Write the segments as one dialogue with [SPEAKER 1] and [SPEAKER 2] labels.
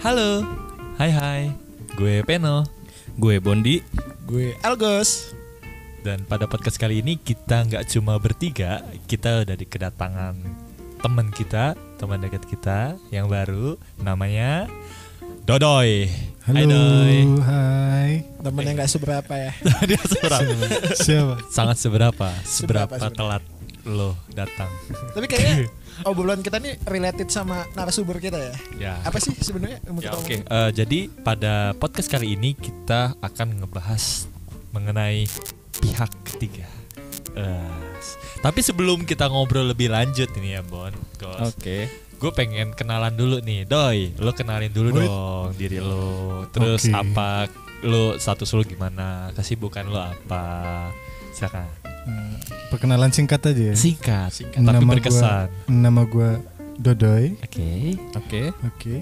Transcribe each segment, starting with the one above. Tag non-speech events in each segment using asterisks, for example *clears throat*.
[SPEAKER 1] Halo, hai hai, gue Peno
[SPEAKER 2] Gue Bondi
[SPEAKER 3] Gue Elgos.
[SPEAKER 1] Dan pada podcast kali ini kita nggak cuma bertiga Kita udah di kedatangan teman kita, teman dekat kita yang baru Namanya Dodoy Hai Doy
[SPEAKER 4] hai.
[SPEAKER 3] Temen yang gak seberapa ya.
[SPEAKER 1] *laughs* Dia seberapa?
[SPEAKER 4] Siapa?
[SPEAKER 1] Sangat seberapa, seberapa,
[SPEAKER 3] Seberapa, seberapa.
[SPEAKER 1] telat lo datang
[SPEAKER 3] *laughs* Tapi kayaknya obrolan kita nih related sama narasumber kita ya.
[SPEAKER 1] Ya,
[SPEAKER 3] Apa sih sebenarnya yang mau
[SPEAKER 1] Ya,
[SPEAKER 3] kita
[SPEAKER 1] oke.
[SPEAKER 3] omongin?
[SPEAKER 1] Eh, jadi pada podcast kali ini kita akan ngebahas mengenai pihak ketiga. Eh, s- tapi sebelum kita ngobrol lebih lanjut ini ya Bon,
[SPEAKER 2] Oke
[SPEAKER 1] gue pengen kenalan dulu nih, Doi. Lo kenalin dulu dong diri lo. Terus
[SPEAKER 4] Oke.
[SPEAKER 1] apa? Lo status lo gimana? Kesibukan lo apa? Silakan.
[SPEAKER 4] Hmm, Perkenalan singkat aja ya.
[SPEAKER 1] Singkat, tapi
[SPEAKER 4] gua-
[SPEAKER 1] berkesan. Eh.
[SPEAKER 4] nama gue Dodoy.
[SPEAKER 1] Oke.
[SPEAKER 2] Oke
[SPEAKER 4] Oke.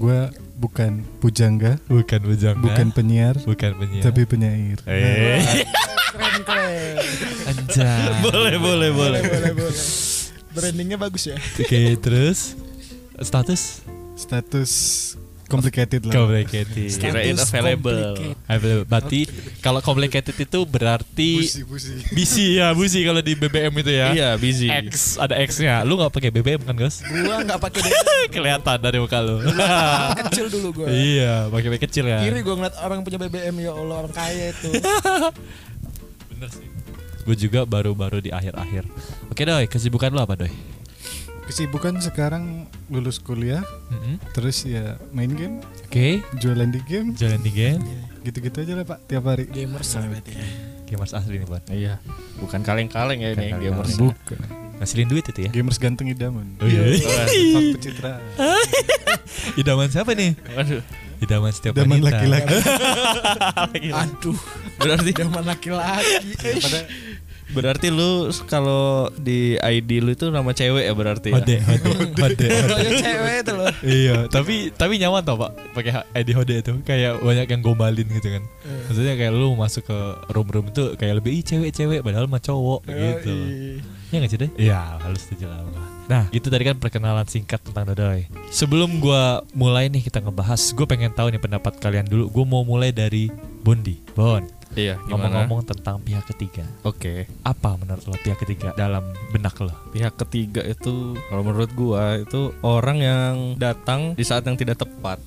[SPEAKER 4] Gua bukan pujangga,
[SPEAKER 1] Bukan bujang.
[SPEAKER 4] bukan penyiar,
[SPEAKER 1] bukan penyiar.
[SPEAKER 4] tapi penyair.
[SPEAKER 1] Iya.
[SPEAKER 4] Nah,
[SPEAKER 1] Eh.
[SPEAKER 3] Keren
[SPEAKER 1] *laughs*
[SPEAKER 3] keren.
[SPEAKER 1] boleh, boleh, boleh.
[SPEAKER 3] boleh boleh boleh. Brandingnya bagus ya.
[SPEAKER 1] Oke, terus status
[SPEAKER 4] Status complicated lah.
[SPEAKER 1] complicated.
[SPEAKER 2] Kirain
[SPEAKER 3] Status
[SPEAKER 2] available.
[SPEAKER 3] complicated.
[SPEAKER 1] Available. Berarti kalau complicated itu berarti
[SPEAKER 4] Pusi-pusi.
[SPEAKER 1] busy ya, busy kalau di BBM itu ya.
[SPEAKER 2] Iya busy
[SPEAKER 1] X ada X-nya. Lu nggak pakai BBM kan, Gus? *laughs*
[SPEAKER 3] Gua nggak pakai deh.
[SPEAKER 1] Kelihatan dari muka lu. *laughs*
[SPEAKER 3] kecil dulu gua.
[SPEAKER 1] iya, pakai B kecil ya.
[SPEAKER 3] Kiri gua ngeliat orang punya BBM ya Allah orang kaya itu.
[SPEAKER 1] Bener sih. Gue juga baru-baru di akhir-akhir. Oke, Doi, kesibukan lu apa, Doi?
[SPEAKER 4] Kesibukan sekarang lulus kuliah,
[SPEAKER 1] Mm-mm.
[SPEAKER 4] terus ya main game,
[SPEAKER 1] Oke,
[SPEAKER 4] jualan di game,
[SPEAKER 1] jalan di game.
[SPEAKER 4] gitu-gitu aja lah Pak tiap hari.
[SPEAKER 3] Gamers
[SPEAKER 1] Nah,
[SPEAKER 3] lah berarti ya.
[SPEAKER 1] Gamers asli nih, Bon.
[SPEAKER 2] Iya Bukan kaleng-kaleng ya
[SPEAKER 1] Bukan
[SPEAKER 2] ini
[SPEAKER 1] kaleng-kaleng.
[SPEAKER 2] gamers
[SPEAKER 4] Bukan.
[SPEAKER 1] Ngasilin duit itu ya.
[SPEAKER 4] Gamers ganteng idaman.
[SPEAKER 1] Oh iya.
[SPEAKER 4] Wah,
[SPEAKER 1] *laughs*
[SPEAKER 4] Pak pencitraan.
[SPEAKER 1] Idaman siapa nih?
[SPEAKER 2] Waduh
[SPEAKER 1] Idaman setiap
[SPEAKER 4] Idaman
[SPEAKER 1] wanita. *laughs*
[SPEAKER 4] laki-laki.
[SPEAKER 1] iya.
[SPEAKER 3] Aduh,
[SPEAKER 2] Berarti
[SPEAKER 3] zaman laki-laki.
[SPEAKER 1] Gitu,
[SPEAKER 3] Eh,
[SPEAKER 4] Pada-
[SPEAKER 2] berarti lu kalau di ID lu itu nama cewek ya berarti ya?
[SPEAKER 1] Hode, hode, hode.
[SPEAKER 3] Kayak cewek itu loh.
[SPEAKER 1] Iya, tapi tapi nyaman tau pak pakai ID hode itu kayak banyak yang gombalin gitu kan.
[SPEAKER 4] Eh.
[SPEAKER 1] Maksudnya kayak lu masuk ke room-room itu kayak lebih ih cewek-cewek padahal mah cowok gitu.
[SPEAKER 3] Yoi.
[SPEAKER 1] Ya nggak sih deh? Iya, harus setuju lah. gua. Nah, itu tadi kan perkenalan singkat tentang Dodoy. Sebelum gua mulai nih kita ngebahas, gue pengen tahu nih pendapat kalian dulu. Gue mau mulai dari Bondi. Bon,
[SPEAKER 2] Iya gimana
[SPEAKER 1] ngomong-ngomong tentang pihak ketiga.
[SPEAKER 2] Oke
[SPEAKER 1] Apa menurut lo pihak ketiga dalam benak lo?
[SPEAKER 2] Pihak ketiga itu Kalau menurut gua itu Orang yang datang di saat yang tidak tepat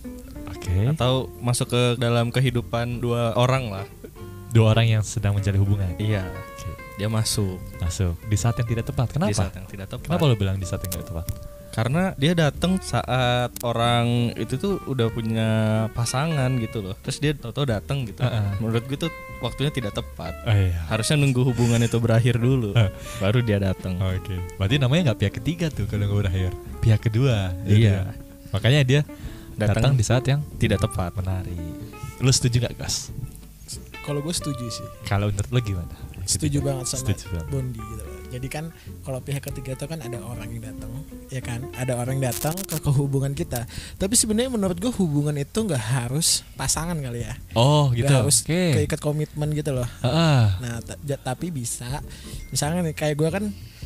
[SPEAKER 1] Oke.
[SPEAKER 2] Atau masuk ke dalam kehidupan dua orang lah
[SPEAKER 1] Dua orang yang sedang menjalin hubungan.
[SPEAKER 2] Iya
[SPEAKER 1] Oke.
[SPEAKER 2] Dia masuk
[SPEAKER 1] Masuk di saat yang tidak tepat.
[SPEAKER 2] Di saat
[SPEAKER 1] Kenapa?
[SPEAKER 2] yang tidak tepat
[SPEAKER 1] Kenapa lo bilang di saat yang tidak tepat?
[SPEAKER 2] karena dia datang saat orang itu tuh udah punya pasangan gitu loh terus dia tau-tau datang gitu
[SPEAKER 1] Heeh.
[SPEAKER 2] menurut gue tuh waktunya tidak tepat
[SPEAKER 1] Oh, iya.
[SPEAKER 2] harusnya nunggu hubungan itu berakhir dulu
[SPEAKER 1] Heeh.
[SPEAKER 2] baru dia datang
[SPEAKER 1] Oke. Berarti namanya nggak pihak ketiga tuh kalau nggak berakhir. Pihak kedua. Jadi
[SPEAKER 2] Iya.
[SPEAKER 1] ya. Makanya dia datang,
[SPEAKER 2] datang,
[SPEAKER 1] di saat yang
[SPEAKER 2] tidak tepat
[SPEAKER 1] menarik. Lo setuju nggak gas?
[SPEAKER 3] Kalau gue setuju sih.
[SPEAKER 1] Kalau menurut lo gimana? Pihak
[SPEAKER 3] setuju
[SPEAKER 1] ketiga.
[SPEAKER 3] banget
[SPEAKER 1] Gitu.
[SPEAKER 3] sama
[SPEAKER 1] Setuju banget.
[SPEAKER 3] Bondi gitu loh. Jadi kan kalau pihak ketiga itu kan ada orang yang datang, ya kan? Ada orang yang datang ke kehubungan kita. Tapi sebenarnya menurut gue hubungan itu nggak harus pasangan kali ya.
[SPEAKER 1] Oh
[SPEAKER 3] Nggak
[SPEAKER 1] gitu.
[SPEAKER 3] harus
[SPEAKER 1] Oke.
[SPEAKER 3] keikat komitmen gitu loh.
[SPEAKER 1] Heeh.
[SPEAKER 3] Nah, ta- ja- tapi bisa misalnya nih kayak gue kan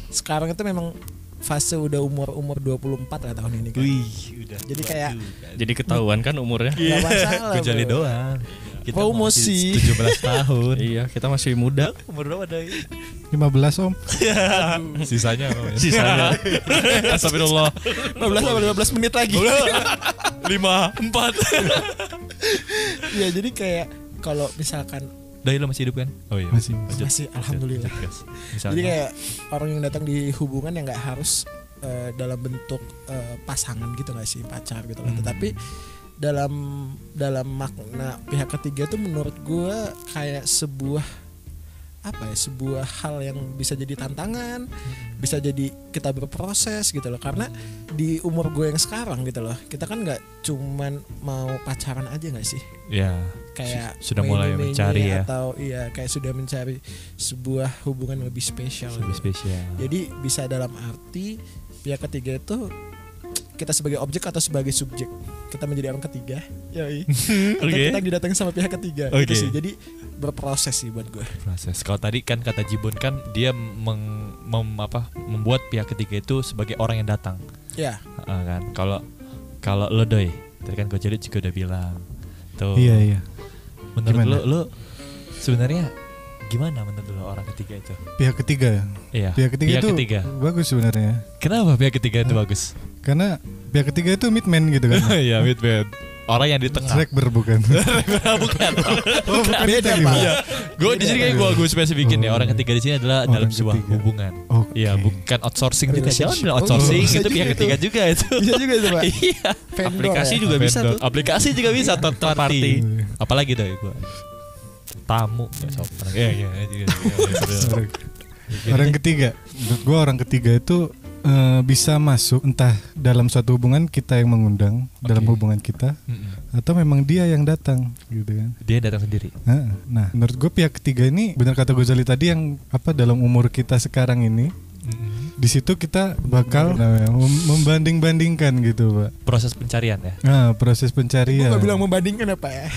[SPEAKER 3] sekarang itu memang fase udah umur-umur 24 lah tahun ini kan.
[SPEAKER 1] Wih, udah.
[SPEAKER 3] Jadi kayak
[SPEAKER 2] jadi ketahuan kan umurnya
[SPEAKER 3] Nggak masalah,
[SPEAKER 1] Gue jali
[SPEAKER 3] bro.
[SPEAKER 1] doang.
[SPEAKER 3] Promosi.
[SPEAKER 1] masih 17 tahun.
[SPEAKER 2] iya kita masih muda
[SPEAKER 1] Umur berapa doi?
[SPEAKER 4] 15 Om.
[SPEAKER 1] *laughs* Sisanya apa, men?
[SPEAKER 2] sisanya *laughs*
[SPEAKER 1] Astagfirullah
[SPEAKER 3] 15 sampai 12 menit lagi. *laughs*
[SPEAKER 1] Lima Empat
[SPEAKER 3] ya jadi kayak kalau misalkan
[SPEAKER 1] Doi lo masih hidup kan? Oh iya
[SPEAKER 4] Masih.
[SPEAKER 1] Lanjut.
[SPEAKER 3] Masih, alhamdulillah.
[SPEAKER 1] Lanjut, guys. Misalnya
[SPEAKER 3] Jadi kayak orang yang datang di hubungan yang nggak harus eh, dalam bentuk eh, pasangan gitu nggak sih pacar gitu loh.
[SPEAKER 1] Hmm.
[SPEAKER 3] Tetapi dalam dalam makna pihak ketiga tuh menurut gua kayak sebuah apa ya sebuah hal yang bisa jadi tantangan,
[SPEAKER 1] Hmm.
[SPEAKER 3] bisa jadi kita berproses gitu loh. Karena di umur gue yang sekarang gitu loh, kita kan nggak cuman mau pacaran aja nggak sih?
[SPEAKER 1] Ya
[SPEAKER 3] kayak
[SPEAKER 1] Sudah mulai
[SPEAKER 3] menu-menu
[SPEAKER 1] mencari ya.
[SPEAKER 3] atau iya kayak sudah mencari sebuah hubungan lebih spesial
[SPEAKER 1] Lebih
[SPEAKER 3] gitu.
[SPEAKER 1] spesial
[SPEAKER 3] jadi bisa dalam arti pihak ketiga itu kita sebagai objek atau sebagai subjek kita menjadi orang ketiga yoi
[SPEAKER 1] *laughs*
[SPEAKER 3] Atau
[SPEAKER 1] Oke.
[SPEAKER 3] kita didatangi sama pihak ketiga
[SPEAKER 1] Oke.
[SPEAKER 3] gitu sih jadi berproses sih buat gue
[SPEAKER 1] Proses Kalau tadi kan kata Jibun kan Dia meng- mem- apa, membuat pihak ketiga itu Sebagai orang yang datang
[SPEAKER 3] ya
[SPEAKER 1] Heeh, kan Kalau Kalau lo doi Tadi kan Coach Jolit juga udah bilang. Tuh.
[SPEAKER 4] Iya iya.
[SPEAKER 1] Menurut
[SPEAKER 4] Gimana?
[SPEAKER 1] lu lu sebenarnya gimana menurut lu orang ketiga itu?
[SPEAKER 4] Pihak ketiga.
[SPEAKER 1] Iya.
[SPEAKER 4] Pihak ketiga
[SPEAKER 1] Pihak
[SPEAKER 4] itu
[SPEAKER 1] ketiga.
[SPEAKER 4] bagus sebenarnya.
[SPEAKER 1] Kenapa pihak ketiga itu bagus?
[SPEAKER 4] Karena pihak ketiga itu midman gitu kan.
[SPEAKER 1] *laughs* Iya, midman. Orang yang di tengah.
[SPEAKER 4] Tracker bukan.
[SPEAKER 1] *laughs* Bukan.
[SPEAKER 4] oh, bukan
[SPEAKER 3] Beda,
[SPEAKER 4] itu gimana?
[SPEAKER 1] Iya. Gue di sini kayak gue gue spesifikin ya.
[SPEAKER 4] Oh,
[SPEAKER 1] Orang
[SPEAKER 4] iya.
[SPEAKER 1] ketiga di sini adalah
[SPEAKER 4] Orang
[SPEAKER 1] dalam sebuah
[SPEAKER 4] ketiga.
[SPEAKER 1] hubungan.
[SPEAKER 4] Oke.
[SPEAKER 1] Iya, bukan outsourcing juga. Jangan
[SPEAKER 3] Relationship.
[SPEAKER 1] bilang
[SPEAKER 3] Oh,
[SPEAKER 1] outsourcing
[SPEAKER 3] bisa
[SPEAKER 1] itu
[SPEAKER 3] juga
[SPEAKER 1] pihak
[SPEAKER 3] itu.
[SPEAKER 1] ketiga juga itu.
[SPEAKER 3] Bisa juga itu pak.
[SPEAKER 1] *laughs* Iya.
[SPEAKER 3] Vendor
[SPEAKER 2] Aplikasi
[SPEAKER 3] ya.
[SPEAKER 2] juga bisa
[SPEAKER 1] Vendor.
[SPEAKER 2] tuh.
[SPEAKER 1] Aplikasi juga bisa third party.
[SPEAKER 4] Iya.
[SPEAKER 1] Apalagi doi gue tamu ya sopan. Iya iya iya, iya, iya.
[SPEAKER 4] Orang- Orang ketiga. Menurut gue orang ketiga itu eh, bisa masuk entah dalam suatu hubungan kita yang mengundang dalam
[SPEAKER 1] Oke.
[SPEAKER 4] hubungan kita
[SPEAKER 1] Mm-mm.
[SPEAKER 4] atau memang dia yang datang gitu kan.
[SPEAKER 1] Dia datang sendiri.
[SPEAKER 4] Nah, nah, menurut gue pihak ketiga ini benar kata Gozali tadi yang apa dalam umur kita sekarang ini di situ kita bakal namanya, mem- membanding-bandingkan gitu pak.
[SPEAKER 1] Proses pencarian ya.
[SPEAKER 4] Nah proses pencarian.
[SPEAKER 3] Gue gak bilang membandingkan ya pak ya.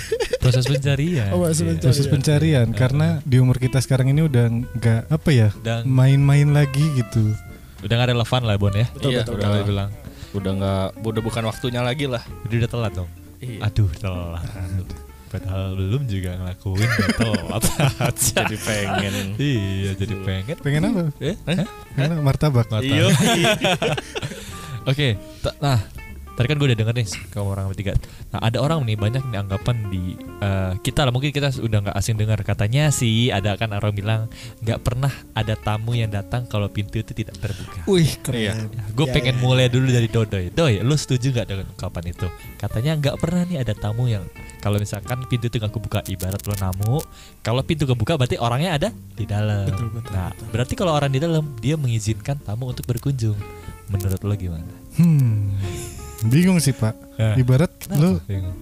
[SPEAKER 1] Proses pencarian.
[SPEAKER 3] Oh, proses
[SPEAKER 1] Iya.
[SPEAKER 3] pencarian.
[SPEAKER 4] proses pencarian
[SPEAKER 1] Iya.
[SPEAKER 4] karena di umur kita sekarang ini udah nggak apa ya
[SPEAKER 1] Dan
[SPEAKER 4] main-main lagi gitu.
[SPEAKER 1] udah gak relevan lah Bon ya.
[SPEAKER 2] Betul, Iya, betul,
[SPEAKER 1] udah
[SPEAKER 2] betul.
[SPEAKER 1] bilang.
[SPEAKER 2] Udah nggak, udah bukan waktunya lagi lah.
[SPEAKER 1] Jadi udah telat dong. Aduh telat. Padahal belum juga ngelakuin udah *laughs* telat aja.
[SPEAKER 2] Jadi pengen.
[SPEAKER 1] iya jadi pengen.
[SPEAKER 4] Pengen apa?
[SPEAKER 1] Eh?
[SPEAKER 2] Hah?
[SPEAKER 4] Pengen apa? martabak.
[SPEAKER 1] Martabak.
[SPEAKER 2] Iya.
[SPEAKER 1] Oke. ta- Nah tadi kan gue udah denger nih kamu orang bertiga. Nah ada orang nih banyak nih anggapan di eh, kita lah mungkin kita udah nggak asing dengar katanya sih ada kan orang bilang nggak pernah ada tamu yang datang kalau pintu itu tidak terbuka.
[SPEAKER 3] Wih
[SPEAKER 2] Iya.
[SPEAKER 3] keren.
[SPEAKER 1] Gue
[SPEAKER 3] Ya,
[SPEAKER 1] pengen
[SPEAKER 3] ya.
[SPEAKER 1] mulai dulu dari Dodoy. Doy, lu setuju nggak dengan ungkapan itu? Katanya nggak pernah nih ada tamu yang kalau misalkan pintu itu nggak kebuka ibarat lo namu, kalau pintu kebuka berarti orangnya ada di dalam.
[SPEAKER 3] Betul, betul,
[SPEAKER 1] nah,
[SPEAKER 3] betul.
[SPEAKER 1] berarti kalau orang di dalam dia mengizinkan tamu untuk berkunjung. Menurut lo gimana?
[SPEAKER 4] Hmm. Bingung sih pak.
[SPEAKER 1] Hah.
[SPEAKER 4] Ibarat
[SPEAKER 1] Eh.
[SPEAKER 4] lu
[SPEAKER 1] Kenapa? Bingung.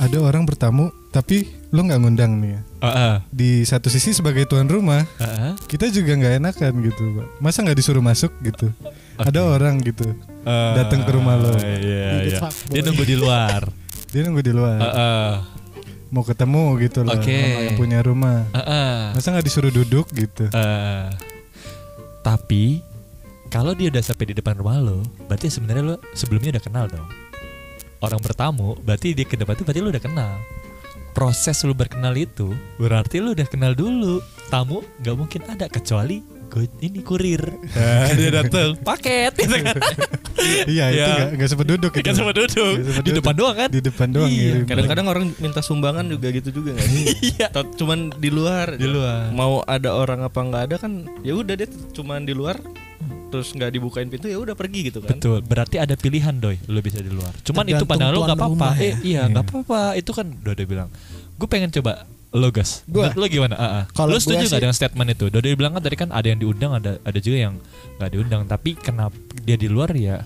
[SPEAKER 4] ada orang bertamu tapi lu nggak ngundang nih. ya.
[SPEAKER 1] Heeh.
[SPEAKER 4] Di satu sisi sebagai tuan rumah
[SPEAKER 1] Heeh.
[SPEAKER 4] kita juga nggak enakan gitu pak. Masa nggak disuruh masuk gitu? Ada orang gitu datang ke rumah lo.
[SPEAKER 1] Ah, Iya,
[SPEAKER 3] Bikin
[SPEAKER 1] iya.
[SPEAKER 3] fuckboy.
[SPEAKER 1] Dia nunggu di *laughs* luar. Ah,
[SPEAKER 4] Dia nunggu di luar
[SPEAKER 1] Heeh.
[SPEAKER 4] mau ketemu gitu loh
[SPEAKER 1] Eh. Oke. Eh.
[SPEAKER 4] sama yang punya rumah.
[SPEAKER 1] Ah, Heeh.
[SPEAKER 4] Masa nggak disuruh duduk gitu?
[SPEAKER 1] eh tapi kalau dia udah sampai di depan rumah lo, berarti sebenarnya lo sebelumnya udah kenal dong. Orang bertamu, berarti dia ke depan itu berarti lo udah kenal. Proses lo berkenal itu berarti lo udah kenal dulu. Tamu nggak mungkin ada kecuali go- ini kurir.
[SPEAKER 4] Eh,
[SPEAKER 1] Nah, dia datang *laughs* paket gitu kan.
[SPEAKER 4] *laughs* iya itu
[SPEAKER 1] Iya.
[SPEAKER 4] nggak nggak sempet duduk gitu.
[SPEAKER 1] Kan sama duduk
[SPEAKER 4] Nggak sempet
[SPEAKER 1] di depan doang kan.
[SPEAKER 4] Di depan doang
[SPEAKER 1] Iya,
[SPEAKER 4] ngirim.
[SPEAKER 2] Kadang-kadang orang minta sumbangan juga gitu juga nggak sih?
[SPEAKER 1] Iya.
[SPEAKER 2] Tot- Cuman di luar.
[SPEAKER 1] Di luar.
[SPEAKER 2] Mau ada orang apa nggak ada kan? Ya udah deh, cuman di luar. Terus nggak dibukain pintu ya udah pergi gitu kan?
[SPEAKER 1] Betul, berarti ada pilihan doi, lu bisa di luar. Cuman itu
[SPEAKER 3] Tergantung
[SPEAKER 1] padahal lu
[SPEAKER 3] tuan
[SPEAKER 1] nggak apa-apa.
[SPEAKER 3] rumah
[SPEAKER 1] Eh,
[SPEAKER 3] ya.
[SPEAKER 1] iya,
[SPEAKER 4] Iya.
[SPEAKER 1] nggak apa-apa. Itu kan Dodo bilang, gue pengen coba lo gas.
[SPEAKER 3] Gua?
[SPEAKER 1] Menurut Lo gimana? Ah, ah. Lo
[SPEAKER 3] Kalau gua
[SPEAKER 1] setuju nggak
[SPEAKER 3] sih-
[SPEAKER 1] dengan statement itu? Dodo bilang kan tadi kan ada yang diundang, ada ada juga yang nggak diundang. Tapi kenapa dia di luar ya?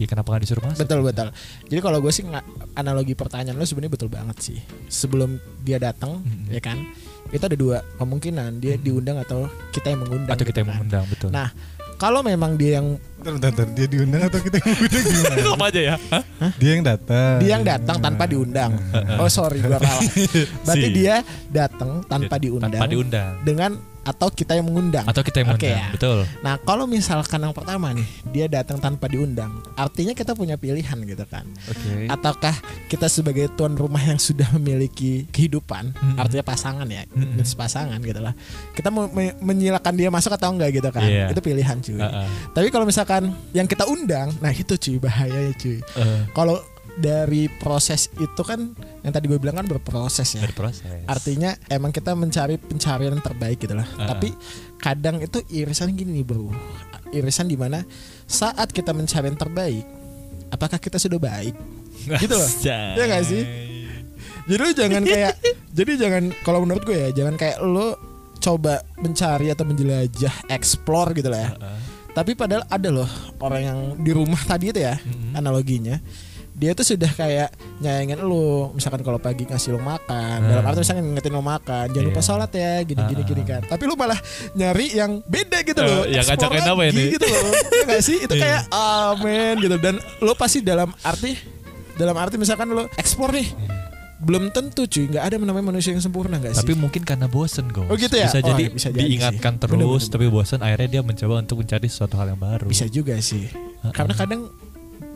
[SPEAKER 1] Dia kenapa nggak disuruh masuk?
[SPEAKER 3] Betul betul. Jadi kalau gue sih nga- analogi pertanyaan lo sebenarnya betul banget sih. Sebelum dia datang,
[SPEAKER 1] Mm-mm.
[SPEAKER 3] ya kan, itu ada dua kemungkinan dia diundang atau kita yang mengundang.
[SPEAKER 1] Atau
[SPEAKER 3] gitu
[SPEAKER 1] kita yang
[SPEAKER 3] kan.
[SPEAKER 1] mengundang, betul. *laughs*
[SPEAKER 3] Nah, kalau memang dia yang
[SPEAKER 4] Bentar, bentar, bentar. Dia diundang atau kita yang ngundang gimana?
[SPEAKER 1] Sama aja ya. Hah?
[SPEAKER 4] dia yang datang.
[SPEAKER 3] dia yang datang tanpa diundang, oh sorry gue salah. Berarti
[SPEAKER 1] *laughs* Si.
[SPEAKER 3] dia datang tanpa diundang,
[SPEAKER 1] Iya. Tanpa diundang.
[SPEAKER 3] dengan atau kita yang mengundang.
[SPEAKER 1] Atau kita yang
[SPEAKER 3] Oke
[SPEAKER 1] mengundang,
[SPEAKER 3] ya.
[SPEAKER 1] betul.
[SPEAKER 3] Nah, kalau misalkan yang pertama nih, dia datang tanpa diundang, artinya kita punya pilihan gitu kan.
[SPEAKER 1] Oke.
[SPEAKER 3] ataukah kita sebagai tuan rumah yang sudah memiliki kehidupan
[SPEAKER 1] Mm-mm.
[SPEAKER 3] artinya pasangan ya
[SPEAKER 1] Mm-mm.
[SPEAKER 3] it's pasangan gitu lah kita mau me- menyilakan dia masuk atau enggak gitu kan
[SPEAKER 1] Iya.
[SPEAKER 3] itu pilihan cuy
[SPEAKER 1] Ah, ah.
[SPEAKER 3] tapi kalau misalkan yang kita undang nah itu cuy bahayanya cuy
[SPEAKER 1] Eh,
[SPEAKER 3] kalau dari proses itu kan yang tadi gue bilang kan berproses ya
[SPEAKER 1] berproses.
[SPEAKER 3] artinya emang kita mencari pencarian yang terbaik gitu lah
[SPEAKER 1] Ah.
[SPEAKER 3] tapi kadang itu irisan gini nih bro irisan dimana saat kita mencari yang terbaik apakah kita sudah baik
[SPEAKER 1] *laughs*
[SPEAKER 3] gitu loh.
[SPEAKER 1] Asai.
[SPEAKER 3] Iya nggak sih? Jadi lu jangan kayak jadi jangan kalau menurut gue ya jangan kayak lu coba mencari atau menjelajah explore gitu lah ya.
[SPEAKER 1] Ah, ah.
[SPEAKER 3] Tapi padahal ada loh orang yang di rumah tadi itu ya
[SPEAKER 1] Mm-mm.
[SPEAKER 3] analoginya. Dia tuh sudah kayak nyayangin lu Misalkan kalau pagi ngasih lu makan
[SPEAKER 1] Hmm.
[SPEAKER 3] Dalam arti misalkan ngingetin lu makan Jangan lupa
[SPEAKER 1] Iya.
[SPEAKER 3] sholat ya Gini-gini
[SPEAKER 1] Ah,
[SPEAKER 3] gini
[SPEAKER 1] ah.
[SPEAKER 3] kan Tapi lu malah nyari yang beda
[SPEAKER 1] Eh,
[SPEAKER 3] gitu loh
[SPEAKER 1] yang
[SPEAKER 3] explore
[SPEAKER 1] ngajakin apa
[SPEAKER 3] lagi
[SPEAKER 1] ini?
[SPEAKER 3] Gitu loh Iya nggak sih? Itu
[SPEAKER 1] Iya.
[SPEAKER 3] kayak amin gitu Dan lu pasti dalam arti Dalam arti misalkan lu explore nih
[SPEAKER 1] Hmm.
[SPEAKER 3] belum tentu cuy nggak ada namanya manusia yang sempurna nggak sih
[SPEAKER 1] Tapi mungkin karena bosen Gong.
[SPEAKER 3] Oh gitu ya?
[SPEAKER 1] Bisa
[SPEAKER 3] Oh,
[SPEAKER 1] jadi
[SPEAKER 3] bisa jadi
[SPEAKER 1] diingatkan
[SPEAKER 3] sih.
[SPEAKER 1] terus
[SPEAKER 3] Bener-bener.
[SPEAKER 1] tapi bosen akhirnya dia mencoba untuk mencari sesuatu hal yang baru.
[SPEAKER 3] bisa juga sih
[SPEAKER 1] Heeh.
[SPEAKER 3] karena kadang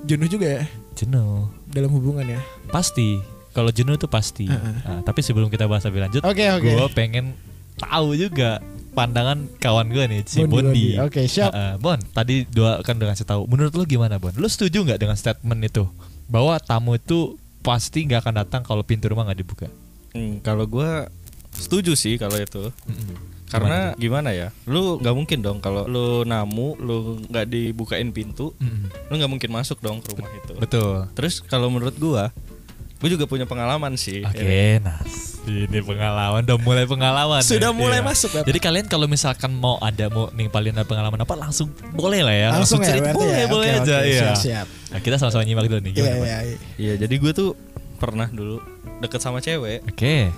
[SPEAKER 3] jenuh juga ya
[SPEAKER 1] jenuh.
[SPEAKER 3] dalam hubungan ya.
[SPEAKER 1] Pasti. Kalau jenuh itu pasti.
[SPEAKER 3] Heeh.
[SPEAKER 1] Nah, tapi sebelum kita bahas lebih lanjut,
[SPEAKER 3] Oke, oke.
[SPEAKER 1] gue pengen tahu juga pandangan kawan gue nih si Bondi.
[SPEAKER 3] Bondi. Oke, siap.
[SPEAKER 1] Heeh, bon, tadi dua kan udah ngasih tahu. Menurut lu gimana, Bon? Lu setuju nggak dengan statement itu bahwa tamu itu pasti nggak akan datang kalau pintu rumah nggak dibuka?
[SPEAKER 2] Hmm, kalau gua setuju sih kalau itu.
[SPEAKER 1] Mm-mm.
[SPEAKER 2] Karena gimana ya? Lu nggak mungkin dong kalau lu namu, lu nggak dibukain pintu,
[SPEAKER 1] Mm-mm.
[SPEAKER 2] lu nggak mungkin masuk dong ke rumah itu.
[SPEAKER 1] betul.
[SPEAKER 2] Terus kalau menurut gua, gua juga punya pengalaman sih.
[SPEAKER 1] Oke,
[SPEAKER 2] Ya.
[SPEAKER 1] nah ini pengalaman, udah mulai pengalaman.
[SPEAKER 3] Sudah
[SPEAKER 1] nih.
[SPEAKER 3] mulai
[SPEAKER 1] Iya.
[SPEAKER 3] masuk Bapak.
[SPEAKER 1] Jadi kalian kalau misalkan mau ada mau nih kalian ada pengalaman apa langsung boleh lah ya
[SPEAKER 3] langsung, ya,
[SPEAKER 1] cerita
[SPEAKER 3] berarti
[SPEAKER 1] boleh
[SPEAKER 3] ya.
[SPEAKER 1] boleh
[SPEAKER 3] Oke,
[SPEAKER 1] aja
[SPEAKER 3] oke,
[SPEAKER 1] iya.
[SPEAKER 3] Siap, siap.
[SPEAKER 1] Nah, kita sama-sama nyimak dulu nih
[SPEAKER 3] Iya,
[SPEAKER 1] gimana. Pak?
[SPEAKER 3] iya, iya.
[SPEAKER 2] Iya, jadi gua tuh pernah dulu deket sama cewek.
[SPEAKER 1] Oke.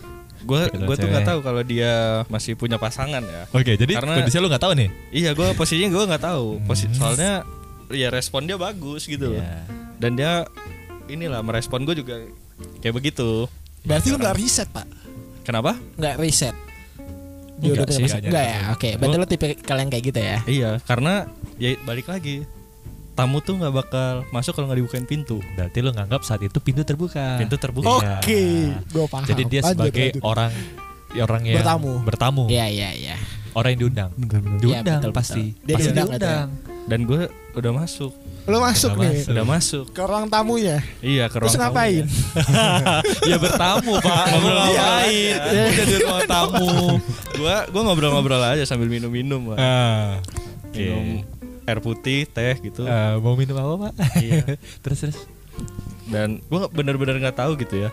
[SPEAKER 2] Gua
[SPEAKER 1] Deket sama
[SPEAKER 2] gua tuh nggak
[SPEAKER 1] cewek.
[SPEAKER 2] tahu kalau dia masih punya pasangan ya.
[SPEAKER 1] Oke, jadi
[SPEAKER 2] Karena-
[SPEAKER 1] kondisinya lu nggak tahu nih.
[SPEAKER 2] Iya, gua posisinya gua nggak tahu. Posi-
[SPEAKER 1] Hmm.
[SPEAKER 2] soalnya ya respon dia bagus gitu loh.
[SPEAKER 1] Iya.
[SPEAKER 2] Dan dia inilah merespon gua juga kayak begitu.
[SPEAKER 3] Berarti lu nggak riset pak?
[SPEAKER 2] Kenapa?
[SPEAKER 3] Nggak riset?
[SPEAKER 1] Nggak
[SPEAKER 3] Jodoh
[SPEAKER 1] sih,
[SPEAKER 3] nggak
[SPEAKER 1] nggak
[SPEAKER 3] Nggak ya?
[SPEAKER 1] nyari.
[SPEAKER 3] Oke, berarti lu tipe kalian kayak gitu ya?
[SPEAKER 2] Iya, karena ya balik lagi tamu tuh nggak bakal masuk kalau nggak dibukain pintu.
[SPEAKER 1] Berarti lu nganggap saat itu pintu terbuka.
[SPEAKER 2] Pintu terbuka.
[SPEAKER 1] Iya.
[SPEAKER 3] Oke, gue paham.
[SPEAKER 1] Jadi dia
[SPEAKER 3] Lanjut,
[SPEAKER 1] sebagai
[SPEAKER 3] lanjut.
[SPEAKER 1] orang orang yang
[SPEAKER 3] Bertamu.
[SPEAKER 1] bertamu,
[SPEAKER 3] Iya, iya, iya.
[SPEAKER 1] orang yang diundang.
[SPEAKER 4] Bentar, bentar.
[SPEAKER 1] Diundang
[SPEAKER 3] betul,
[SPEAKER 1] pasti.
[SPEAKER 3] betul. Dia
[SPEAKER 1] pasti
[SPEAKER 3] diundang,
[SPEAKER 2] Dan gue udah masuk,
[SPEAKER 3] Lu masuk
[SPEAKER 1] Nggak
[SPEAKER 3] nih
[SPEAKER 1] masuk.
[SPEAKER 2] udah masuk.
[SPEAKER 3] ke ruang tamunya.
[SPEAKER 2] Iya, ke ruang
[SPEAKER 3] Terus ngapain?
[SPEAKER 2] tamunya. ya bertamu
[SPEAKER 3] *laughs*
[SPEAKER 2] pak, ngobrol
[SPEAKER 1] Iya.
[SPEAKER 3] Iya.
[SPEAKER 1] *laughs*
[SPEAKER 2] ngapain? Udah di ruang tamu. Gue gue ngobrol-ngobrol aja sambil minum-minum, pak.
[SPEAKER 1] Ah, oke.
[SPEAKER 2] minum air putih, teh gitu.
[SPEAKER 1] Ah, mau minum apa, Pak?
[SPEAKER 2] Iya.
[SPEAKER 1] *laughs* terus terus.
[SPEAKER 2] Dan gue bener-bener nggak tahu gitu ya.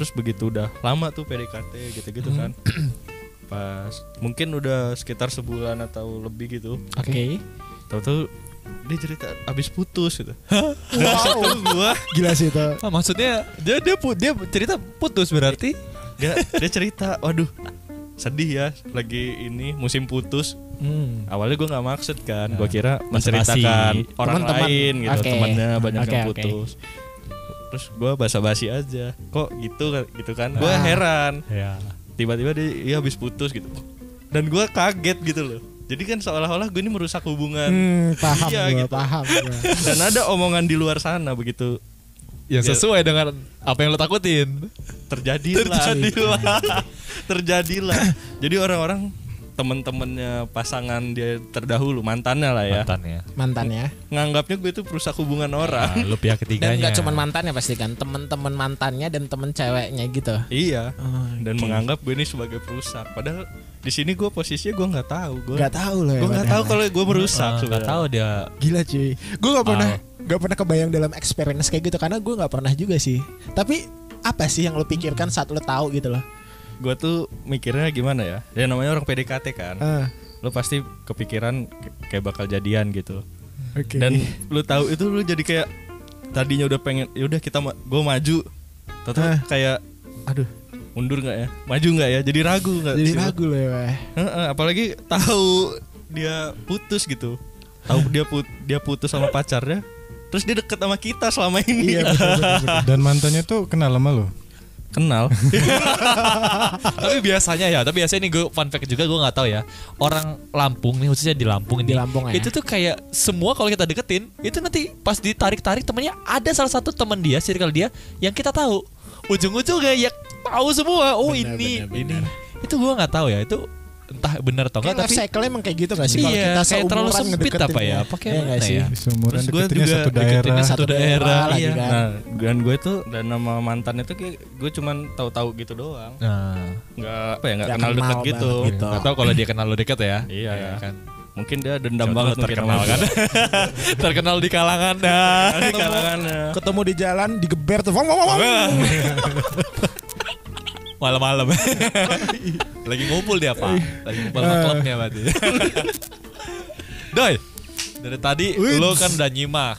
[SPEAKER 2] Terus begitu udah lama tuh PDKT gitu-gitu kan.
[SPEAKER 3] Hmm. *clears throat*
[SPEAKER 2] Pas mungkin udah sekitar sebulan atau lebih gitu.
[SPEAKER 3] Oke.
[SPEAKER 2] Tahu-tahu dia cerita abis putus gitu. *laughs*
[SPEAKER 3] Wow,
[SPEAKER 2] Tuh gua
[SPEAKER 3] gila sih itu.
[SPEAKER 1] Ah, maksudnya dia dia pu- dia cerita putus berarti.
[SPEAKER 2] dia, dia cerita, waduh sedih ya lagi ini musim putus.
[SPEAKER 3] Hmm.
[SPEAKER 2] Awalnya gua nggak maksud kan, gua kira
[SPEAKER 1] basa-basi.
[SPEAKER 2] menceritakan orang
[SPEAKER 3] Nah, Teman-teman.
[SPEAKER 2] lain gitu,
[SPEAKER 3] Oke.
[SPEAKER 2] temannya banyak
[SPEAKER 3] Oke,
[SPEAKER 2] yang
[SPEAKER 3] oke.
[SPEAKER 2] putus. Terus gua basa-basi aja. Kok gitu kan- gitu kan? Gua
[SPEAKER 3] Ah.
[SPEAKER 2] heran.
[SPEAKER 1] Ya.
[SPEAKER 2] Tiba-tiba dia iya habis putus gitu. Dan gua kaget gitu loh. Jadi kan seolah-olah gue ini merusak hubungan.
[SPEAKER 3] Hmm, paham
[SPEAKER 2] Iya,
[SPEAKER 3] gua,
[SPEAKER 2] gitu.
[SPEAKER 3] paham gua.
[SPEAKER 2] Dan ada omongan di luar sana begitu
[SPEAKER 1] Yang
[SPEAKER 2] Ya.
[SPEAKER 1] sesuai dengan apa yang lo takutin.
[SPEAKER 2] terjadilah terjadilah *laughs* terjadilah jadi orang-orang temen-temennya pasangan dia terdahulu mantannya lah ya
[SPEAKER 1] Mantan ya.
[SPEAKER 3] Mantan ya.
[SPEAKER 2] nganggapnya gue itu perusak hubungan orang
[SPEAKER 1] Ah, lu pihak ketiganya.
[SPEAKER 3] Dan nggak cuma mantannya pasti kan, temen-temen mantannya dan temen ceweknya gitu.
[SPEAKER 1] Ah.
[SPEAKER 2] iya dan
[SPEAKER 3] Oke.
[SPEAKER 2] menganggap gue ini sebagai perusak padahal di sini gue posisinya gue nggak tahu gue
[SPEAKER 3] Gak tahu loh. ya,
[SPEAKER 2] gue nggak tahu
[SPEAKER 3] padahal.
[SPEAKER 2] kalau gue merusak
[SPEAKER 1] Ah, nggak
[SPEAKER 2] sebenarnya.
[SPEAKER 1] tahu dia.
[SPEAKER 3] Gila cuy, gue gak pernah
[SPEAKER 1] Ah.
[SPEAKER 3] gak pernah kebayang dalam experience kayak gitu karena gue gak pernah juga sih. Tapi apa sih yang lo pikirkan saat lo tahu gitu loh?
[SPEAKER 2] gue tuh mikirnya gimana ya ya namanya orang PDKT kan
[SPEAKER 3] Ah,
[SPEAKER 2] lo pasti kepikiran k- kayak bakal jadian gitu
[SPEAKER 3] Oke.
[SPEAKER 2] dan lu tahu itu lu jadi kayak tadinya udah pengen ya udah kita ma- gue maju tahu
[SPEAKER 3] Hah.
[SPEAKER 2] kayak aduh mundur nggak ya maju nggak ya jadi ragu nggak
[SPEAKER 3] jadi
[SPEAKER 2] sih lu?
[SPEAKER 3] ragu loh ya. Weh.
[SPEAKER 2] Heeh, apalagi tahu dia putus gitu tahu dia put dia putus sama pacarnya terus dia deket sama kita selama
[SPEAKER 3] Iya
[SPEAKER 2] ini
[SPEAKER 3] betul, betul, betul.
[SPEAKER 4] Dan mantannya tuh kenal sama lo.
[SPEAKER 2] *laughs* kenal
[SPEAKER 3] Iya
[SPEAKER 1] tapi biasanya ya, tapi biasanya ini gue fun fact juga gue nggak tahu ya. Orang Lampung nih khususnya di Lampung ini.
[SPEAKER 3] Di Lampung ya.
[SPEAKER 1] Itu tuh kayak semua kalau kita deketin, itu nanti pas ditarik-tarik temennya ada salah satu teman dia, circle dia yang kita tahu. Ujung-ujungnya ya tahu semua. Oh
[SPEAKER 3] Benar,
[SPEAKER 1] ini,
[SPEAKER 3] benar,
[SPEAKER 1] ini. Itu gue nggak tahu ya. Itu entah benar atau
[SPEAKER 3] Kan
[SPEAKER 1] enggak
[SPEAKER 3] life
[SPEAKER 1] tapi
[SPEAKER 3] cycle emang kayak gitu gak sih? kalau
[SPEAKER 1] Iya,
[SPEAKER 3] kita
[SPEAKER 1] kayak terlalu
[SPEAKER 3] seumuran
[SPEAKER 1] sempit
[SPEAKER 3] ngedeketin
[SPEAKER 1] apa ya?
[SPEAKER 3] dia.
[SPEAKER 1] Apa kayak
[SPEAKER 3] Iya
[SPEAKER 1] mana
[SPEAKER 3] gak sih?
[SPEAKER 1] ya?
[SPEAKER 4] Seumuran
[SPEAKER 2] Terus gua
[SPEAKER 4] deketinnya
[SPEAKER 2] juga
[SPEAKER 4] satu
[SPEAKER 1] deketinnya
[SPEAKER 4] daerah.
[SPEAKER 1] satu daerah,
[SPEAKER 3] lagi
[SPEAKER 1] iya.
[SPEAKER 3] kan.
[SPEAKER 2] nah dan gue tuh dan nama mantan itu kayak gue cuman tahu-tahu gitu doang
[SPEAKER 1] Nah,
[SPEAKER 2] nggak apa ya
[SPEAKER 3] Nggak
[SPEAKER 2] nggak kenal
[SPEAKER 3] kenal
[SPEAKER 2] deket
[SPEAKER 3] banget
[SPEAKER 2] gitu
[SPEAKER 3] gitu.
[SPEAKER 1] nggak tahu kalau dia kenal lo deket ya.
[SPEAKER 2] Iya, ya.
[SPEAKER 1] kan.
[SPEAKER 2] mungkin dia dendam
[SPEAKER 1] Coba
[SPEAKER 2] banget mungkin
[SPEAKER 1] terkenal
[SPEAKER 2] sama
[SPEAKER 1] kan. *laughs*
[SPEAKER 2] gua.
[SPEAKER 1] terkenal di kalangan dah.
[SPEAKER 2] Di kalangannya.
[SPEAKER 3] Ketemu di jalan digeber tuh. Wong, wong, wong, wong.
[SPEAKER 1] Malam-malam. *laughs* Lagi ngumpul dia, Pak. Lagi ngumpul sama klubnya berarti. Doi, dari tadi
[SPEAKER 3] Wih.
[SPEAKER 1] lo kan udah nyimak.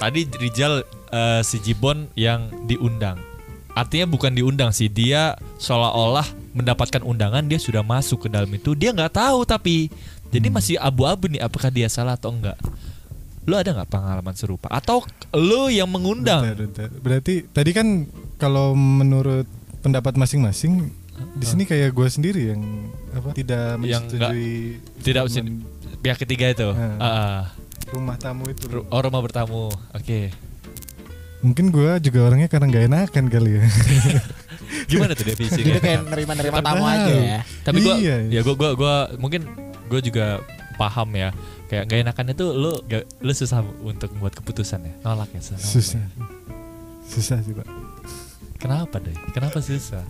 [SPEAKER 1] Tadi Rijal eh, si Jibon yang diundang. Artinya bukan diundang sih, dia seolah-olah mendapatkan undangan dia sudah masuk ke dalam itu. Dia nggak tahu tapi jadi masih abu-abu nih apakah dia salah atau enggak. Lo ada nggak pengalaman serupa atau lo yang mengundang?
[SPEAKER 4] Bentar, bentar. Berarti tadi kan kalau menurut pendapat masing-masing di sini kayak gue sendiri yang apa
[SPEAKER 1] Yang
[SPEAKER 4] tidak menyetujui
[SPEAKER 1] Tidak
[SPEAKER 4] statement
[SPEAKER 1] usah- pihak ketiga itu.
[SPEAKER 4] Hmm.
[SPEAKER 1] Ah, ah.
[SPEAKER 4] rumah tamu itu.
[SPEAKER 1] Ru- Oh rumah bertamu, oke.
[SPEAKER 4] Mungkin gua juga orangnya karena nggak enakan kali ya.
[SPEAKER 1] Gimana tuh
[SPEAKER 4] *laughs*
[SPEAKER 1] definisinya?
[SPEAKER 3] Jadi kayak nerima-nerima tamu
[SPEAKER 4] Padahal.
[SPEAKER 3] aja ya.
[SPEAKER 1] tapi gua
[SPEAKER 4] Iya.
[SPEAKER 1] ya gua gua gua mungkin gua juga paham ya kayak gak enakannya tuh lu gak, lu susah untuk membuat keputusan ya nolak ya susah, nolak
[SPEAKER 4] Susah.
[SPEAKER 1] ya.
[SPEAKER 4] Susah sih, Pak.
[SPEAKER 1] kenapa deh kenapa susah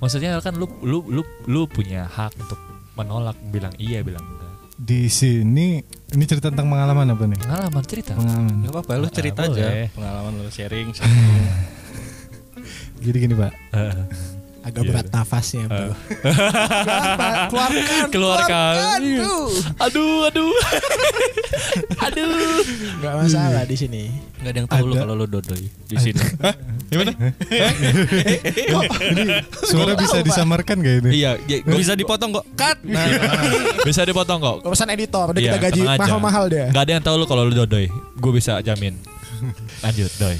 [SPEAKER 1] maksudnya kan lu lu lu lu punya hak untuk menolak bilang iya bilang enggak
[SPEAKER 4] Di sini ini cerita tentang pengalaman apa nih?
[SPEAKER 1] pengalaman cerita *laughs*
[SPEAKER 4] Pengalaman.
[SPEAKER 2] Gak apa-apa, lu
[SPEAKER 1] Ah,
[SPEAKER 2] cerita
[SPEAKER 1] boleh.
[SPEAKER 2] aja pengalaman lu sharing.
[SPEAKER 4] Jadi gini, Pak.
[SPEAKER 1] Heeh.
[SPEAKER 3] Agak
[SPEAKER 1] Iya.
[SPEAKER 3] berat nafasnya, Bro.
[SPEAKER 1] *laughs* keluarkan keluarkan Iya. aduh aduh aduh
[SPEAKER 3] Enggak masalah di sini.
[SPEAKER 2] Gak ada yang tahu lu
[SPEAKER 4] Ada.
[SPEAKER 2] kalau lu dodoy di sini.
[SPEAKER 1] gimana
[SPEAKER 4] Suara bisa disamarkan gak ini?
[SPEAKER 2] iya, ya, gua bisa dipotong kok. Cut. Nah,
[SPEAKER 1] bisa dipotong kok
[SPEAKER 3] Urusan editor, udah
[SPEAKER 1] Iya,
[SPEAKER 3] kita gaji
[SPEAKER 1] tenang aja.
[SPEAKER 3] mahal-mahal deh.
[SPEAKER 1] nggak ada yang tahu lu kalau lu dodoy gue bisa jamin lanjut doy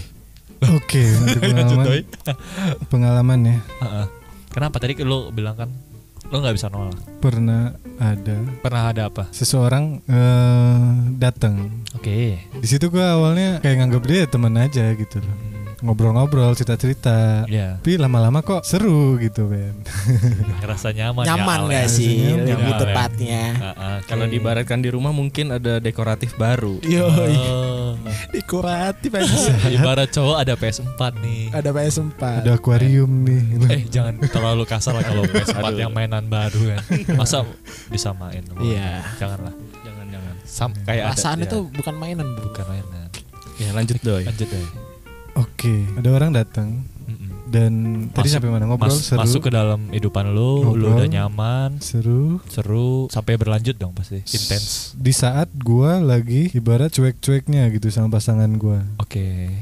[SPEAKER 1] *laughs*
[SPEAKER 4] Oke, untuk
[SPEAKER 1] lanjut doy
[SPEAKER 4] pengalaman, pengalaman ya.
[SPEAKER 1] Heeh. Kenapa tadi lo bilang kan lo nggak bisa nolak?
[SPEAKER 4] Pernah ada
[SPEAKER 1] Pernah ada apa?
[SPEAKER 4] seseorang eh, datang.
[SPEAKER 1] Oke.
[SPEAKER 4] Di situ gua awalnya kayak nganggap dia teman aja gitu loh. Ngobrol-ngobrol, cerita-cerita.
[SPEAKER 1] Ya,
[SPEAKER 4] Tapi lama-lama kok seru gitu, Ben.
[SPEAKER 1] ngerasa nyaman. ya,
[SPEAKER 3] Nyaman gak
[SPEAKER 1] Alex.
[SPEAKER 3] sih
[SPEAKER 4] Nyaman.
[SPEAKER 3] lebih
[SPEAKER 1] Nyaman.
[SPEAKER 3] tepatnya?
[SPEAKER 1] Ah, ah, oke.
[SPEAKER 2] kalau diibaratkan di rumah mungkin ada dekoratif baru.
[SPEAKER 3] Yoi,
[SPEAKER 1] Oh,
[SPEAKER 3] dekoratif aja.
[SPEAKER 1] ibarat cowok ada PS4 nih.
[SPEAKER 3] Ada PS4.
[SPEAKER 4] Ada akuarium nih.
[SPEAKER 1] Eh jangan terlalu kasar lah kalau PS4
[SPEAKER 2] Aduh.
[SPEAKER 1] yang mainan baru kan. Masa disamain? Wah,
[SPEAKER 3] Iya.
[SPEAKER 1] Janganlah.
[SPEAKER 2] Jangan jangan.
[SPEAKER 1] Sam kayak ada-
[SPEAKER 3] Perasaan
[SPEAKER 1] ya,
[SPEAKER 3] itu bukan mainan, Bro.
[SPEAKER 1] bukan mainan.
[SPEAKER 2] Ya lanjut doy.
[SPEAKER 1] Lanjut deh.
[SPEAKER 4] Oke, ada orang datang
[SPEAKER 1] Mm-mm.
[SPEAKER 4] dan tadi
[SPEAKER 1] Masuk-
[SPEAKER 4] sampai mana ngobrol
[SPEAKER 1] Mas-
[SPEAKER 4] seru.
[SPEAKER 1] masuk ke dalam kehidupan lo, lo
[SPEAKER 4] Ngobrol.
[SPEAKER 1] udah nyaman,
[SPEAKER 4] seru.
[SPEAKER 1] seru, sampai berlanjut dong pasti. Intens.
[SPEAKER 4] Di saat gua lagi ibarat cuek-cueknya gitu sama pasangan gua.
[SPEAKER 1] Oke.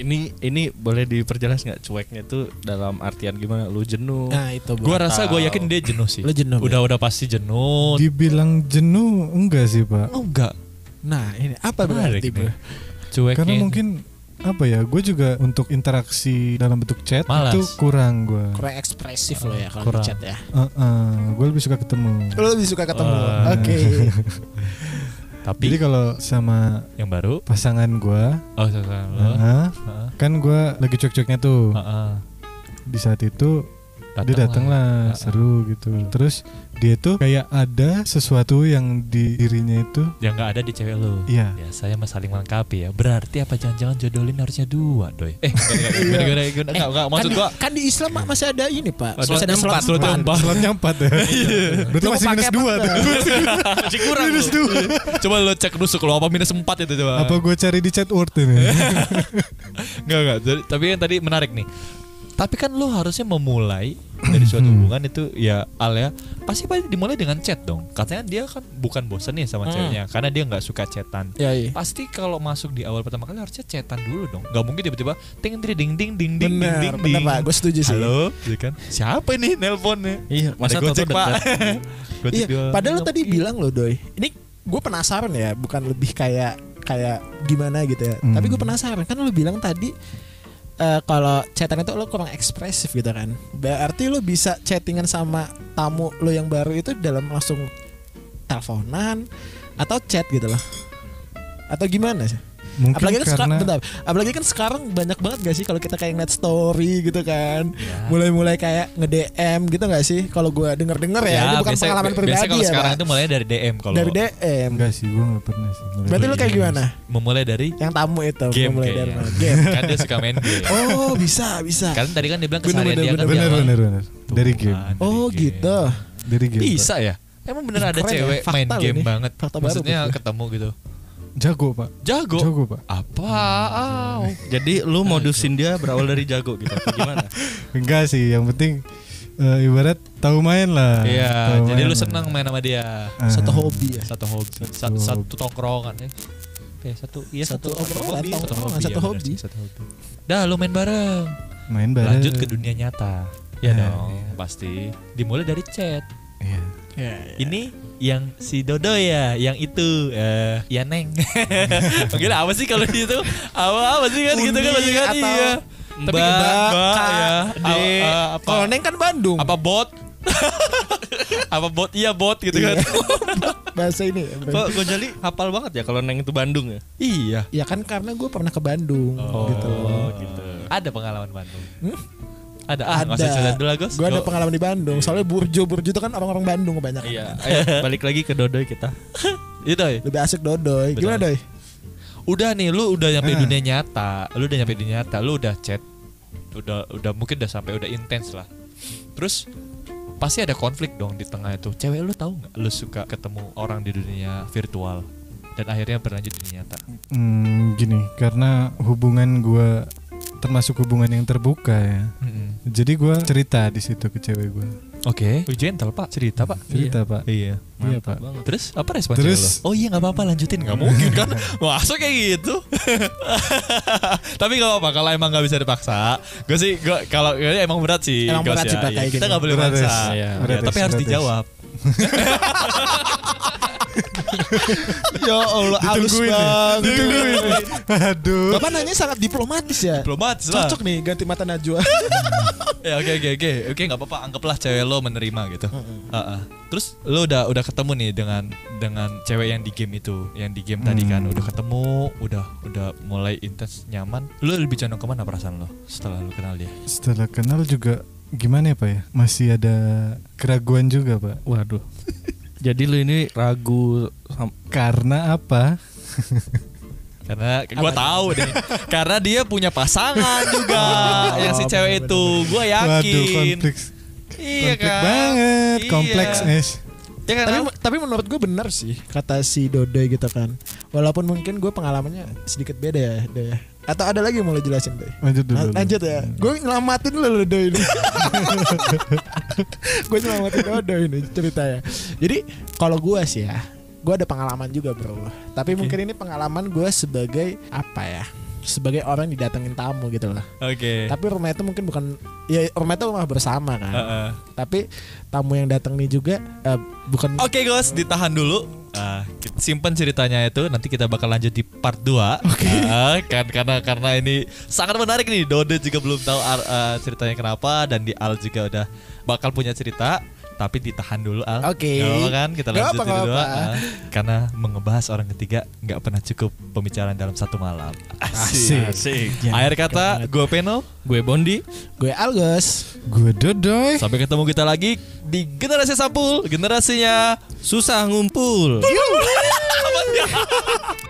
[SPEAKER 2] Ini ini boleh diperjelas nggak cueknya tuh dalam artian gimana? Lu jenuh.
[SPEAKER 3] Nah, itu, Bro.
[SPEAKER 1] Gua rasa gue yakin dia jenuh sih.
[SPEAKER 3] Lu jenuh.
[SPEAKER 1] udah udah pasti jenuh.
[SPEAKER 4] Dibilang jenuh enggak sih, Pak?
[SPEAKER 1] oh enggak.
[SPEAKER 3] Nah, ini apa
[SPEAKER 1] Menarik
[SPEAKER 3] berarti,
[SPEAKER 1] nih.
[SPEAKER 3] Bro?
[SPEAKER 1] Cueknya.
[SPEAKER 4] Karena mungkin apa ya, gue juga untuk interaksi dalam bentuk chat
[SPEAKER 1] Malas.
[SPEAKER 4] itu kurang gue.
[SPEAKER 3] Kurang ekspresif lo ya kalau
[SPEAKER 1] Kurang.
[SPEAKER 3] di chat ya.
[SPEAKER 4] gue lebih suka ketemu. Nah,
[SPEAKER 3] Lo lebih suka ketemu.
[SPEAKER 1] Wah.
[SPEAKER 3] Oke. *laughs* Kan
[SPEAKER 1] tapi
[SPEAKER 4] Jadi kalau sama
[SPEAKER 1] yang baru.
[SPEAKER 4] pasangan gue,
[SPEAKER 1] Oh, sorry, sorry, lo.
[SPEAKER 4] heeh,
[SPEAKER 1] Heeh.
[SPEAKER 4] kan gue lagi cuek-cueknya tuh.
[SPEAKER 1] Heeh.
[SPEAKER 4] Di saat itu dia datang
[SPEAKER 1] Ah, ah.
[SPEAKER 4] lah, seru gitu. Terus dia tuh kayak ada sesuatu yang di dirinya itu,
[SPEAKER 1] Yang nggak ada di cewek lo.
[SPEAKER 4] iya.
[SPEAKER 1] Ya saya mah saling melengkapi ya. Berarti apa jangan-jangan jodohin harusnya dua, doy? Eh, enggak enggak enggak enggak enggak maksud
[SPEAKER 3] kan,
[SPEAKER 1] gua.
[SPEAKER 3] kan di Islam mah masih ada ini, Pak.
[SPEAKER 1] Ada
[SPEAKER 3] Masih ada
[SPEAKER 1] tempat,
[SPEAKER 3] selat
[SPEAKER 1] slot
[SPEAKER 3] empat.
[SPEAKER 1] empat.
[SPEAKER 4] Slotnya empat ya. Berarti
[SPEAKER 3] Lu
[SPEAKER 4] masih
[SPEAKER 3] mau
[SPEAKER 4] minus
[SPEAKER 3] pakai
[SPEAKER 4] dua
[SPEAKER 3] apa
[SPEAKER 4] tuh.
[SPEAKER 2] Masih kurang.
[SPEAKER 4] Minus
[SPEAKER 2] lu.
[SPEAKER 4] dua.
[SPEAKER 1] Coba lo cek nusuk lo apa minus empat itu coba.
[SPEAKER 4] Apa gue cari di chat word ini?
[SPEAKER 1] Enggak enggak. Jadi- tapi yang tadi menarik nih. Tapi kan lo harusnya memulai dari suatu
[SPEAKER 3] Hmm.
[SPEAKER 1] hubungan itu ya al ya pasti pasti dimulai dengan chat dong. Katanya dia kan bukan bosen nih sama
[SPEAKER 3] Hmm.
[SPEAKER 1] ceweknya karena dia nggak suka chatan.
[SPEAKER 3] Ya, iya.
[SPEAKER 1] Pasti kalau masuk di awal pertama kali harusnya chatan dulu dong. Gak mungkin tiba-tiba ting ting ding ding ding ding ding ding
[SPEAKER 3] Benar,
[SPEAKER 1] ding.
[SPEAKER 3] benar Pak. Gue setuju sih.
[SPEAKER 1] Halo, ya kan? Siapa nih nelponnya?
[SPEAKER 2] Iya, masa
[SPEAKER 1] Ada
[SPEAKER 2] Toto
[SPEAKER 1] *laughs*
[SPEAKER 2] dekat.
[SPEAKER 1] Gocek
[SPEAKER 3] Iya,
[SPEAKER 1] doang.
[SPEAKER 3] padahal lo tadi bilang lo doi. Ini gue penasaran ya, bukan lebih kayak kayak gimana gitu ya.
[SPEAKER 4] Hmm.
[SPEAKER 3] Tapi gue penasaran kan lo bilang tadi eh, kalau chatan itu lo kurang ekspresif gitu kan. Berarti lo bisa chattingan sama tamu lo yang baru itu dalam langsung teleponan atau chat gitu loh. Atau gimana sih?
[SPEAKER 4] Mungkin
[SPEAKER 3] Apalagi kan sekarang,
[SPEAKER 4] karena
[SPEAKER 3] bentar. Apalagi kan sekarang banyak banget gak sih kalau kita kayak ngeliat story gitu kan.
[SPEAKER 1] Ya.
[SPEAKER 3] Mulai-mulai kayak nge-DM gitu gak sih? Kalau gue denger-denger ya, ini bukan
[SPEAKER 1] biasanya-
[SPEAKER 3] pengalaman
[SPEAKER 1] biasanya
[SPEAKER 3] pribadi
[SPEAKER 1] kalau
[SPEAKER 3] ya.
[SPEAKER 1] sekarang
[SPEAKER 3] Pak.
[SPEAKER 1] itu mulai dari DM kalau
[SPEAKER 3] Dari DM.
[SPEAKER 4] enggak sih, gue nggak pernah sih.
[SPEAKER 3] Berarti lu kayak gimana?
[SPEAKER 1] memulai dari
[SPEAKER 3] Yang tamu itu
[SPEAKER 1] Game
[SPEAKER 3] mulai
[SPEAKER 1] kayaknya.
[SPEAKER 3] dari mana? Game.
[SPEAKER 1] kan dia suka main game.
[SPEAKER 3] Oh, bisa,
[SPEAKER 1] *laughs*
[SPEAKER 3] bisa.
[SPEAKER 1] Kan tadi kan dia bilang
[SPEAKER 4] Bener
[SPEAKER 1] keseharian
[SPEAKER 4] bener
[SPEAKER 1] dia
[SPEAKER 4] bener
[SPEAKER 1] kan
[SPEAKER 4] bener
[SPEAKER 1] dia-
[SPEAKER 4] bener bener.
[SPEAKER 1] Tuh,
[SPEAKER 4] Dari game,
[SPEAKER 1] kan, dari
[SPEAKER 3] Oh,
[SPEAKER 1] game.
[SPEAKER 3] gitu.
[SPEAKER 4] dari game.
[SPEAKER 1] Bisa ya? Emang bener ada
[SPEAKER 3] Keren ya,
[SPEAKER 1] cewek
[SPEAKER 3] fakta
[SPEAKER 1] main
[SPEAKER 3] loh
[SPEAKER 1] game
[SPEAKER 3] ini.
[SPEAKER 1] banget.
[SPEAKER 3] Fakta baru
[SPEAKER 1] Maksudnya
[SPEAKER 3] buat gue.
[SPEAKER 1] ketemu gitu.
[SPEAKER 4] Pak. Jago pak,
[SPEAKER 1] Jago.
[SPEAKER 4] jago pak.
[SPEAKER 1] Apa?
[SPEAKER 2] Jadi lu modusin dia berawal dari jago gitu. apa Gimana?
[SPEAKER 4] Enggak sih, yang penting eh, ibarat tahu main lah.
[SPEAKER 1] Iya,
[SPEAKER 4] Tahu
[SPEAKER 1] jadi lu
[SPEAKER 4] lah.
[SPEAKER 1] senang main sama dia.
[SPEAKER 4] Ah,
[SPEAKER 3] Satu hobi ya.
[SPEAKER 1] Satu hobi,
[SPEAKER 4] Satu
[SPEAKER 1] satu,
[SPEAKER 4] hobi.
[SPEAKER 1] satu tongkrongan ya. Eh, satu iya
[SPEAKER 3] Satu
[SPEAKER 1] satu,
[SPEAKER 3] obrolan, tongkrongan,
[SPEAKER 1] hobi,
[SPEAKER 3] satu
[SPEAKER 1] ya bener
[SPEAKER 3] hobi.
[SPEAKER 1] sih, satu hobi. Dah lu main bareng.
[SPEAKER 4] Main bareng.
[SPEAKER 1] Lanjut ke dunia nyata. Ya
[SPEAKER 4] Nah,
[SPEAKER 1] dong,
[SPEAKER 2] iya.
[SPEAKER 1] pasti. Dimulai dari chat.
[SPEAKER 4] Iya.
[SPEAKER 3] Ya, ya.
[SPEAKER 1] Ini yang si Dodo ya, yang itu eh ya Neng. *laughs* Mungkin apa sih kalau itu? Apa apa sih kan gitu kan
[SPEAKER 3] Undi
[SPEAKER 1] maksudnya kan
[SPEAKER 3] atau
[SPEAKER 1] iya.
[SPEAKER 3] Mbak, Kak,
[SPEAKER 1] ya.
[SPEAKER 3] Dek.
[SPEAKER 1] Eh, Apa, apa,
[SPEAKER 3] Kalau Neng kan Bandung.
[SPEAKER 1] apa bot? *laughs* apa bot iya bot gitu kan
[SPEAKER 3] *laughs* bahasa ini ya,
[SPEAKER 2] Kok Gojali hafal banget ya kalau neng itu Bandung ya?
[SPEAKER 1] iya
[SPEAKER 3] ya kan karena gue pernah ke Bandung gitu
[SPEAKER 1] Oh, gitu ada pengalaman Bandung
[SPEAKER 3] Hmm?
[SPEAKER 1] ada ah nggak usah
[SPEAKER 3] Ada.
[SPEAKER 1] cerita dulu lah Gos
[SPEAKER 3] gue ada
[SPEAKER 1] Go.
[SPEAKER 3] pengalaman di Bandung soalnya burjo burjo itu kan orang-orang Bandung kebanyakan
[SPEAKER 2] Iya.
[SPEAKER 3] *laughs*
[SPEAKER 2] Ayo, balik lagi ke Dodoy kita.
[SPEAKER 1] Iya, Doy.
[SPEAKER 3] lebih asik dodoy gimana
[SPEAKER 1] Betul.
[SPEAKER 3] doy
[SPEAKER 1] udah nih lu udah nyampe
[SPEAKER 4] Ah.
[SPEAKER 1] dunia nyata lu udah nyampe dunia nyata lu udah chat udah udah mungkin udah sampai udah intens lah terus pasti ada konflik dong di tengah itu cewek lu tahu nggak lu suka ketemu orang di dunia virtual dan akhirnya berlanjut di dunia nyata
[SPEAKER 4] Hmm, gini, karena hubungan gua termasuk hubungan yang terbuka ya. Jadi gua cerita di situ ke cewek gua.
[SPEAKER 1] oke okay. gentle pak cerita pak
[SPEAKER 4] Cerita, Pak.
[SPEAKER 1] iya
[SPEAKER 4] Iya, Pak.
[SPEAKER 2] Mantap banget.
[SPEAKER 1] terus apa respon
[SPEAKER 4] Terus-
[SPEAKER 1] cewek lu? oh iya nggak apa-apa lanjutin nggak mungkin
[SPEAKER 4] *laughs*
[SPEAKER 1] kan masuk kayak gitu *laughs* tapi nggak apa-apa kalau emang nggak bisa dipaksa gue sih gua- kalau gua- emang berat sih
[SPEAKER 3] Emang
[SPEAKER 1] Gos
[SPEAKER 3] berat sih,
[SPEAKER 1] ya.
[SPEAKER 3] Pak,
[SPEAKER 1] Iya,
[SPEAKER 3] kayak
[SPEAKER 1] kita
[SPEAKER 3] gini.
[SPEAKER 1] nggak boleh
[SPEAKER 4] Berat,
[SPEAKER 1] maksa
[SPEAKER 4] Des.
[SPEAKER 1] Ya,
[SPEAKER 4] Berat,
[SPEAKER 1] tapi
[SPEAKER 4] Des,
[SPEAKER 1] harus
[SPEAKER 4] berat, Des. *laughs*
[SPEAKER 1] dijawab *laughs*
[SPEAKER 3] ya Allah halus
[SPEAKER 4] Ditungguin nih. Ditungguin. nih. Aduh.
[SPEAKER 3] Bapak nanya sangat diplomatis ya
[SPEAKER 1] diplomatis lah
[SPEAKER 3] cocok nih ganti mata *laughs* Najwa
[SPEAKER 1] ya oke oke oke oke nggak apa-apa anggaplah cewek lo menerima gitu Heeh. terus lo udah udah ketemu nih dengan dengan cewek yang di game itu yang di game tadi kan
[SPEAKER 4] Hmm.
[SPEAKER 1] udah ketemu udah udah mulai intens nyaman lo lebih condong kemana perasaan lo setelah lo kenal dia
[SPEAKER 4] Setelah kenal juga gimana ya, Pak ya? Masih ada keraguan juga, Pak.
[SPEAKER 2] Waduh. Jadi lu ini ragu sam-
[SPEAKER 4] Karena apa?
[SPEAKER 1] Karena gue tahu
[SPEAKER 4] *laughs*
[SPEAKER 1] deh. Karena dia punya pasangan juga
[SPEAKER 4] Oh,
[SPEAKER 1] yang si cewek itu. Gue yakin.
[SPEAKER 4] Waduh, konflik.
[SPEAKER 1] Iya
[SPEAKER 4] konflik
[SPEAKER 1] kan?
[SPEAKER 4] banget,
[SPEAKER 1] Iya.
[SPEAKER 4] kompleks, eh. Es.
[SPEAKER 1] Ya kan?
[SPEAKER 3] tapi tapi menurut gue benar sih kata si Dodoy gitu kan walaupun mungkin gue pengalamannya sedikit beda ya Doy ya. atau ada lagi yang mau lo jelasin Doy
[SPEAKER 4] Lanjut dulu.
[SPEAKER 3] Lan- lanjut ya gue nyelamatin lo lo Doy ini gue nyelamatin Dodo ini ceritanya jadi kalau gue sih ya gue ada pengalaman juga bro tapi mungkin ini pengalaman gue sebagai apa ya sebagai orang yang didatengin tamu gitu loh
[SPEAKER 1] Oke.
[SPEAKER 3] tapi rumah itu mungkin bukan ya rumah itu rumah bersama kan
[SPEAKER 1] Heeh.
[SPEAKER 3] tapi tamu yang datang nih juga eh, bukan
[SPEAKER 1] Oke, Gos, ditahan dulu. Ah, kita simpan ceritanya itu nanti kita bakal lanjut di part 2. Oke. kan karena karena ini sangat menarik nih. Dode juga belum tahu ar- ah, ceritanya kenapa dan di Al juga udah bakal punya cerita tapi ditahan dulu Al.
[SPEAKER 3] Oke.
[SPEAKER 1] Nggak apa-apa kan kita
[SPEAKER 3] Nggak
[SPEAKER 1] lanjut
[SPEAKER 3] apa-apa,
[SPEAKER 1] dulu.
[SPEAKER 3] nggak apa-apa.
[SPEAKER 1] ah. karena mengebahas orang ketiga nggak pernah cukup pembicaraan dalam satu malam.
[SPEAKER 4] Asik.
[SPEAKER 1] Akhir kata, gue Peno.
[SPEAKER 2] Gue Bondi.
[SPEAKER 3] gue Algos
[SPEAKER 4] Gue dodoy.
[SPEAKER 1] Sampai ketemu kita lagi di generasi sampul, generasinya
[SPEAKER 2] Susah ngumpul.
[SPEAKER 1] Apa sih?